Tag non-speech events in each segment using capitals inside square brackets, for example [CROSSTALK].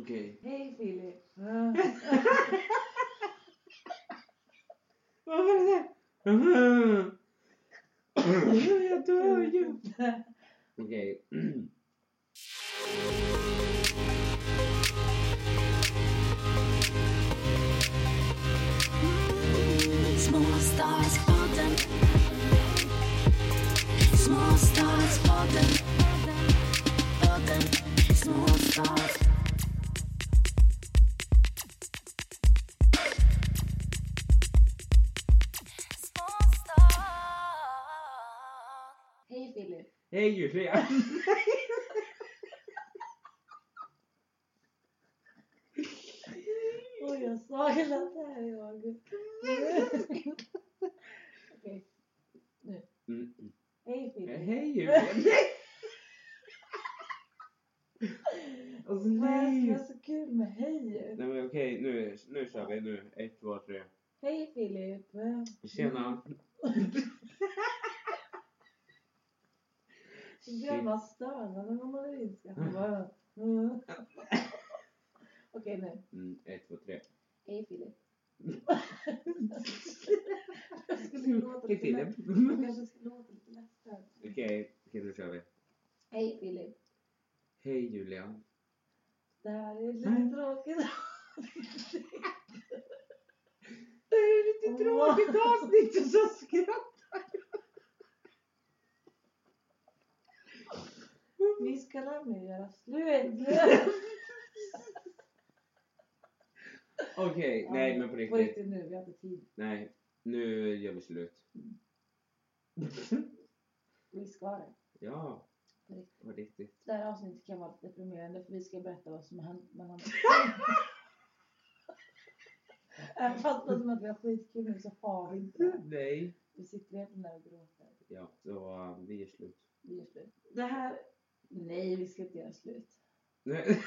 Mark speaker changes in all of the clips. Speaker 1: Okej.
Speaker 2: Hej [LAUGHS] Filip.
Speaker 1: Vad var det där? Jag dör ju. Okej.
Speaker 3: Små Stars-podden. Små Stars-podden. Podden. Små Stars. Små Stars.
Speaker 2: Hej Filip.
Speaker 1: Hej Julia.
Speaker 2: Oj, jag saknar det här jag. Okej.
Speaker 1: Mm.
Speaker 2: Hej Filip.
Speaker 1: Hej Julia. Alltså
Speaker 2: Nej. Det
Speaker 1: nej.
Speaker 2: var så kul med hej.
Speaker 1: Nej men okej nu, nu kör vi nu. Ett, två, tre.
Speaker 2: Hej Filip.
Speaker 1: Tjena.
Speaker 2: Gamla stönande när man är inskattad. Bara, mm. Okej nu.
Speaker 1: Mm, ett, två, tre.
Speaker 2: Hej Filip. Jag skulle låta
Speaker 1: Hej
Speaker 2: lite lätt.
Speaker 1: Filip.
Speaker 2: Jag kanske ska låta lite lättare.
Speaker 1: Okej, okej, nu kör vi.
Speaker 2: Hej Filip.
Speaker 1: Hej Julia.
Speaker 2: Det här är
Speaker 1: Nej.
Speaker 2: lite tråkigt. [LAUGHS]
Speaker 1: Det här är ett
Speaker 2: Åh.
Speaker 1: avsnitt och så skrattar
Speaker 2: Vi ska nämligen göra slut.
Speaker 1: Okej, nej men på
Speaker 2: På
Speaker 1: riktigt.
Speaker 2: riktigt nu, vi har inte tid.
Speaker 1: Nej, nu gör vi [LAUGHS] slut.
Speaker 2: Vi ska det.
Speaker 1: Ja,
Speaker 2: På riktigt.
Speaker 1: på riktigt.
Speaker 2: Det här avsnittet kan vara lite deprimerande för vi ska berätta vad som har hänt [LAUGHS] mellan oss. Även fast det som att vi har skitkul nu så har vi inte det.
Speaker 1: Nej.
Speaker 2: Vi sitter helt där och gråter.
Speaker 1: Ja, så eh, vi gör slut.
Speaker 2: Vi gör slut. Det här... Nej, vi ska inte göra slut.
Speaker 1: [LAUGHS] Nej.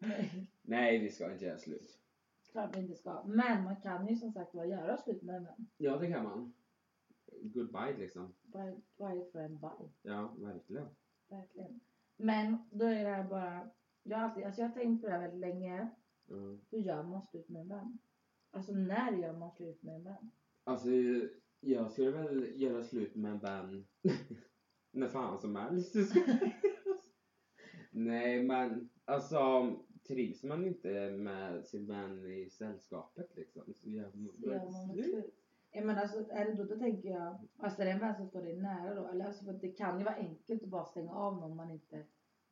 Speaker 2: Nej,
Speaker 1: nej, vi ska inte göra slut.
Speaker 2: klart vi inte ska. Men man kan ju som sagt bara göra slut med en vän.
Speaker 1: Ja, det kan man. Goodbye liksom.
Speaker 2: Bye, bye friend, bye.
Speaker 1: Ja, verkligen.
Speaker 2: Verkligen. Men då är det här bara... Jag har, alltid, alltså jag har tänkt på det här väldigt länge.
Speaker 1: Mm.
Speaker 2: Hur gör man slut med en vän? Alltså när gör man slut med en vän?
Speaker 1: Alltså, jag skulle väl göra slut med en vän [LAUGHS] när fan som helst. [LAUGHS] Nej, men alltså trivs man inte med sin vän i sällskapet liksom så gör man
Speaker 2: Så gör man
Speaker 1: väl
Speaker 2: väl
Speaker 1: slut.
Speaker 2: slut. Ja, men alltså, är det då, då tänker jag, alltså är det en vän som står dig nära då? Eller alltså, för det kan ju vara enkelt att bara stänga av någon man inte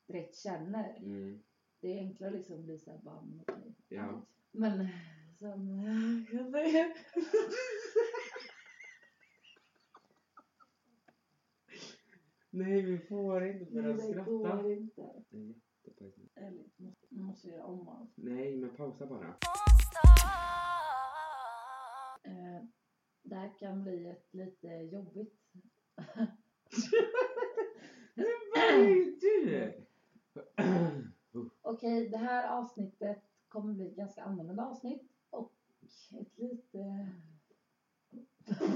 Speaker 2: direkt känner.
Speaker 1: Mm,
Speaker 2: Det är enklare liksom att bli såhär bara... men okej.
Speaker 1: ja.
Speaker 2: Men sen... Jag börjar...
Speaker 1: Nej, vi får inte börja
Speaker 2: Det
Speaker 1: skratta.
Speaker 2: går inte.
Speaker 1: Det är jättepinsamt.
Speaker 2: Eller, måste, måste göra om allt.
Speaker 1: Nej, men pausa bara.
Speaker 2: Eh, det här kan bli ett lite jobbigt.
Speaker 1: Vad är du?
Speaker 2: Okej, det här avsnittet kommer bli ett ganska annorlunda avsnitt och ett lite... [LAUGHS]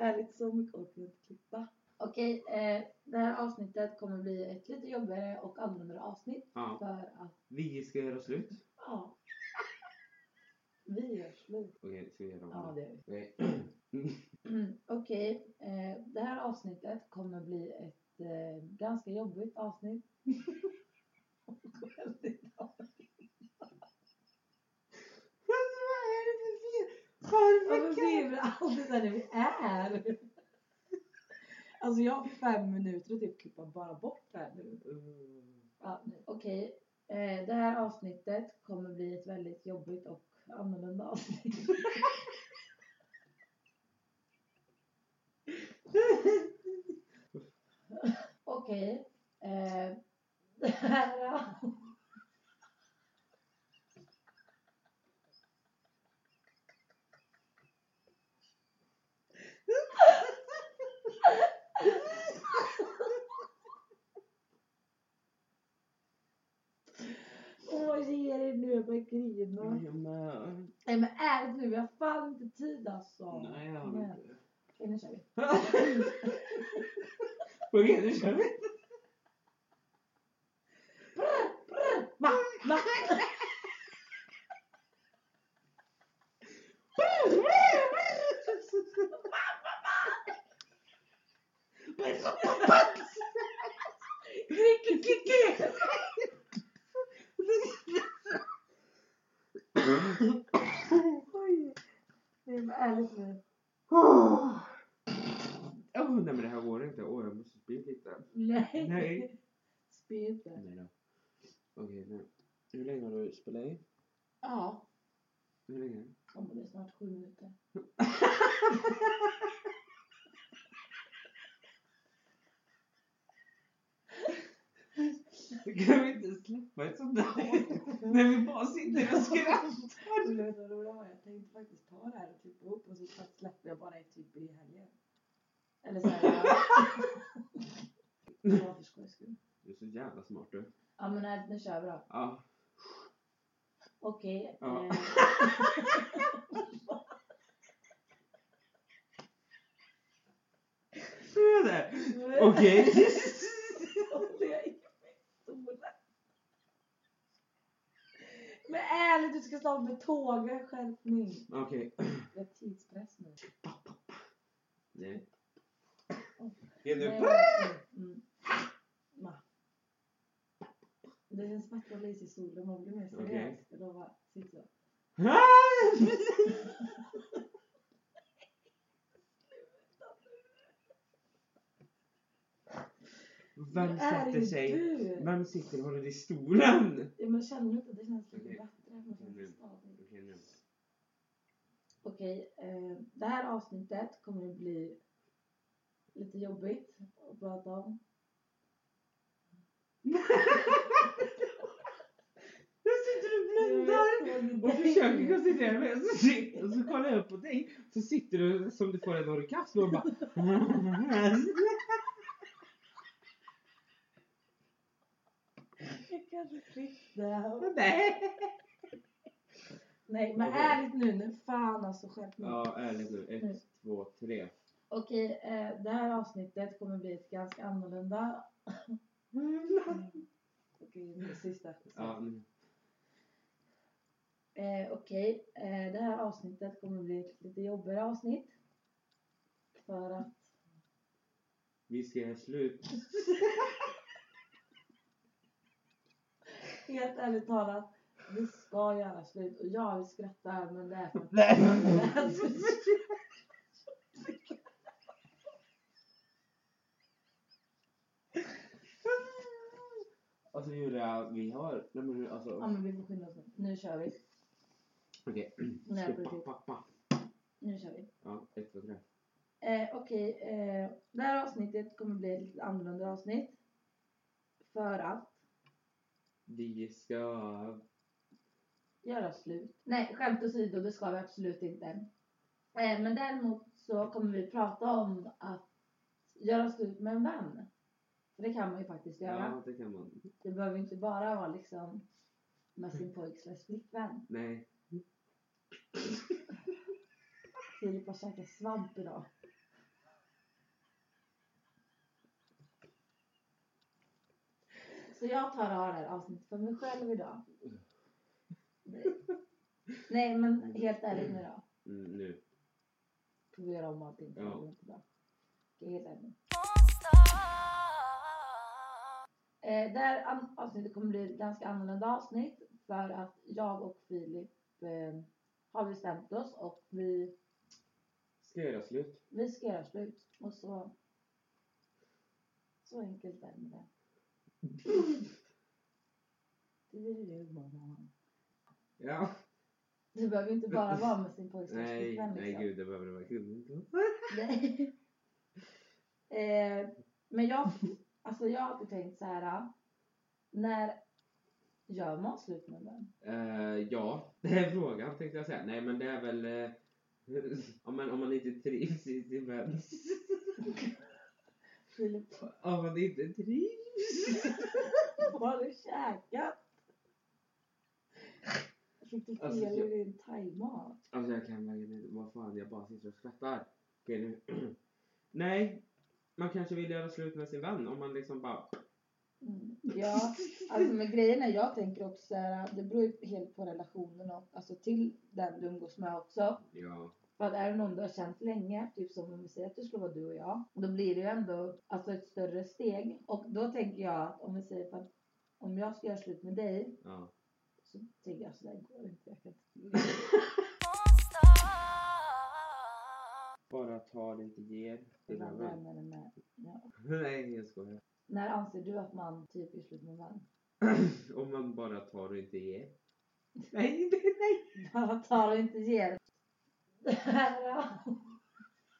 Speaker 2: Ärligt, så mycket orkar jag inte klippa. Okej, eh, det här avsnittet kommer bli ett lite jobbigare och annorlunda avsnitt
Speaker 1: [CLEARS THROAT] Ja,
Speaker 2: för att,
Speaker 1: vi ska göra slut.
Speaker 2: ja. [LAUGHS] Vi gör slut.
Speaker 1: Okej, ska vi göra om
Speaker 2: Ja, det gör vi.
Speaker 1: [CLEARS THROAT] Okej.
Speaker 2: Mm, Okej, eh, det här avsnittet kommer bli ett eh, ganska jobbigt [LAUGHS] avsnitt. Väldigt jobbigt.
Speaker 1: Alltså vad är det för fel?
Speaker 2: Varför
Speaker 1: Varför
Speaker 2: blir vi alltid där vi är? Alltså jag har fem minuter att typ klippa bara bort här nu.
Speaker 1: Äh,
Speaker 2: Ja, nu. Okej, eh, det här avsnittet kommer bli ett väldigt jobbigt och annorlunda avsnitt. Okej, eh, [LAUGHS] det här... Åh, ge er nu, jag börjar
Speaker 1: Mm.
Speaker 2: grina.
Speaker 1: Men,
Speaker 2: Nej men ärligt nu, jag har fan inte tid alltså.
Speaker 1: nej, jag har inte.
Speaker 2: Okej, nu kör vi.
Speaker 1: Okej, nu kör vi.
Speaker 2: Oj. Nej men ärligt nu.
Speaker 1: Åh, oh, nej men det här går inte. Åh, jag måste spy lite.
Speaker 2: Nej.
Speaker 1: Nej.
Speaker 2: Spy inte.
Speaker 1: Nej då. Okej, nu. Hur länge har du spelat in?
Speaker 2: Ja.
Speaker 1: Hur länge?
Speaker 2: Ja, men det är snart sju minuter.
Speaker 1: Kan vi inte släppa ett sånt där När vi bara sitter och skrattar.
Speaker 2: Skulle veta vad det var? Jag tänkte faktiskt ta det här och klippa ihop och så faktiskt släpper jag bara ett klipp i helgen. Eller så här. ja, för skojs skull.
Speaker 1: Du är så jävla smart du.
Speaker 2: Ja men nej, nu kör vi då.
Speaker 1: Ja.
Speaker 2: Okej.
Speaker 1: Ja.
Speaker 2: eh.
Speaker 1: Så är det. [LAUGHS] Okej.
Speaker 2: [LAUGHS] Håller jag i min stora. Men ärligt, du ska snart med tågen. Skärpning.
Speaker 1: Okej.
Speaker 2: Det är tidspress nu.
Speaker 1: Nej.
Speaker 2: Åh.
Speaker 1: Är du...
Speaker 2: Nej, jag- Mm. Ma. Det är en smärta att lysa i solen. Man blir mer seriös.
Speaker 1: Okej.
Speaker 2: Jag lovar. Sitt så.
Speaker 1: Vem
Speaker 2: Det är
Speaker 1: sätter
Speaker 2: ju
Speaker 1: sig?
Speaker 2: du.
Speaker 1: Vem sitter och håller i stolen?
Speaker 2: Ja, men känner du inte att det känns lite
Speaker 1: Okej.
Speaker 2: bättre? Man känns
Speaker 1: Mm.
Speaker 2: stadig.
Speaker 1: Okej, nu.
Speaker 2: Okej, eh, det här avsnittet kommer att bli lite jobbigt att prata om.
Speaker 1: Jag sitter och blundar.
Speaker 2: Jag vet,
Speaker 1: Och försöker koncentrera mig. Och så, sit- och så kollar jag upp på dig. Så sitter du som du får en orgasm och bara...
Speaker 2: Jag kanske klippte.
Speaker 1: Nej.
Speaker 2: Nej, men
Speaker 1: Okej.
Speaker 2: ärligt nu, nu fan alltså skärp mig.
Speaker 1: Ja, ärligt nu.
Speaker 2: Mm.
Speaker 1: Ett, två, tre.
Speaker 2: Okej, eh, det här avsnittet kommer bli ett
Speaker 1: [LAUGHS]
Speaker 2: ganska annorlunda.
Speaker 1: Mm.
Speaker 2: Okej, nu sista.
Speaker 1: Ja, nu.
Speaker 2: Eh, Okej, eh, det här avsnittet kommer bli ett lite jobbigare avsnitt. För att
Speaker 1: Vi ska göra slut.
Speaker 2: helt ärligt talat, vi ska göra slut. Och ja, vi skrattar men det är för att
Speaker 1: [LAUGHS] Alltså Julia, vi har... Nej men alltså...
Speaker 2: Ja men vi får skynda oss nu. Nu kör vi.
Speaker 1: Okej.
Speaker 2: Nej,
Speaker 1: Så,
Speaker 2: precis.
Speaker 1: pa, pa, pa.
Speaker 2: Nu kör vi.
Speaker 1: Ja, ett, två, tre.
Speaker 2: Eh, Okej, eh, det här avsnittet kommer bli ett lite annorlunda avsnitt. För att
Speaker 1: Vi ska...
Speaker 2: göra slut. Nej, skämt åsido, det ska vi absolut inte. Eh, men däremot så kommer vi prata om att göra slut med en vän. För det kan man ju faktiskt göra.
Speaker 1: Ja, det kan man.
Speaker 2: Det behöver ju inte bara vara liksom med sin pojk slash flickvän.
Speaker 1: Nej.
Speaker 2: Filip har käkat svamp idag. Så jag tar av det här avsnittet för mig själv idag. Nej men helt ärligt nu då.
Speaker 1: Mm, nu.
Speaker 2: Får vi göra om allting för
Speaker 1: Ja.
Speaker 2: det är inte bra. Okej, helt ärligt. Eh, det här an- avsnittet kommer bli ett ganska annorlunda avsnitt för att jag och Filip eh, har bestämt oss och vi,
Speaker 1: Ska göra slut.
Speaker 2: vi ska göra slut. Och så, så enkelt är
Speaker 1: [LAUGHS]
Speaker 2: det med det. Det är ju morgon.
Speaker 1: Ja.
Speaker 2: Du behöver ju inte bara vara med sin pojkvän.
Speaker 1: Nej,
Speaker 2: liksom.
Speaker 1: nej gud, det behöver det verkligen inte.
Speaker 2: Nej. eh, men jag, alltså jag har alltid tänkt så här. ah, När gör man slut med den?
Speaker 1: Eh, ja, [LAUGHS] det är frågan tänkte jag säga. Nej men det är väl eh, [LAUGHS] om, man, om man inte trivs i sin [LAUGHS] vän.
Speaker 2: Filip, [LAUGHS]
Speaker 1: Om man inte trivs.
Speaker 2: vad har du käkat? Fick du fel
Speaker 1: Alltså,
Speaker 2: i
Speaker 1: jag-
Speaker 2: din thaimat?
Speaker 1: Alltså jag kan verkligen inte, vad fan jag bara sitter och skrattar. Okej nu. [CLEARS THROAT] Nej, man kanske vill göra slut med sin vän om man liksom bara
Speaker 2: Mm. Ja, alltså med grejen är jag tänker också ah, så här. Det beror ju helt på relationen och alltså till den du umgås med också.
Speaker 1: ja.
Speaker 2: För att är det någon du har känt länge, typ som om vi säger att det skulle vara du och jag, då blir det ju ändå alltså ett större steg. Och då tänker jag att om vi säger att om jag ska göra slut med dig
Speaker 1: Ja.
Speaker 2: så tänker jag så där går det inte. Jag kan inte.
Speaker 1: Bara tar, inte ger. Det är
Speaker 2: Vem
Speaker 1: väl-
Speaker 2: är det med? Ja.
Speaker 1: Nej, jag skojar. [CLEARS THROAT]
Speaker 2: När anser du att man typ är slut med [LAUGHS] vän?
Speaker 1: Om man bara tar och inte ger. Nej, nej, nej!
Speaker 2: Bara tar och inte ger. [LAUGHS] Det här är-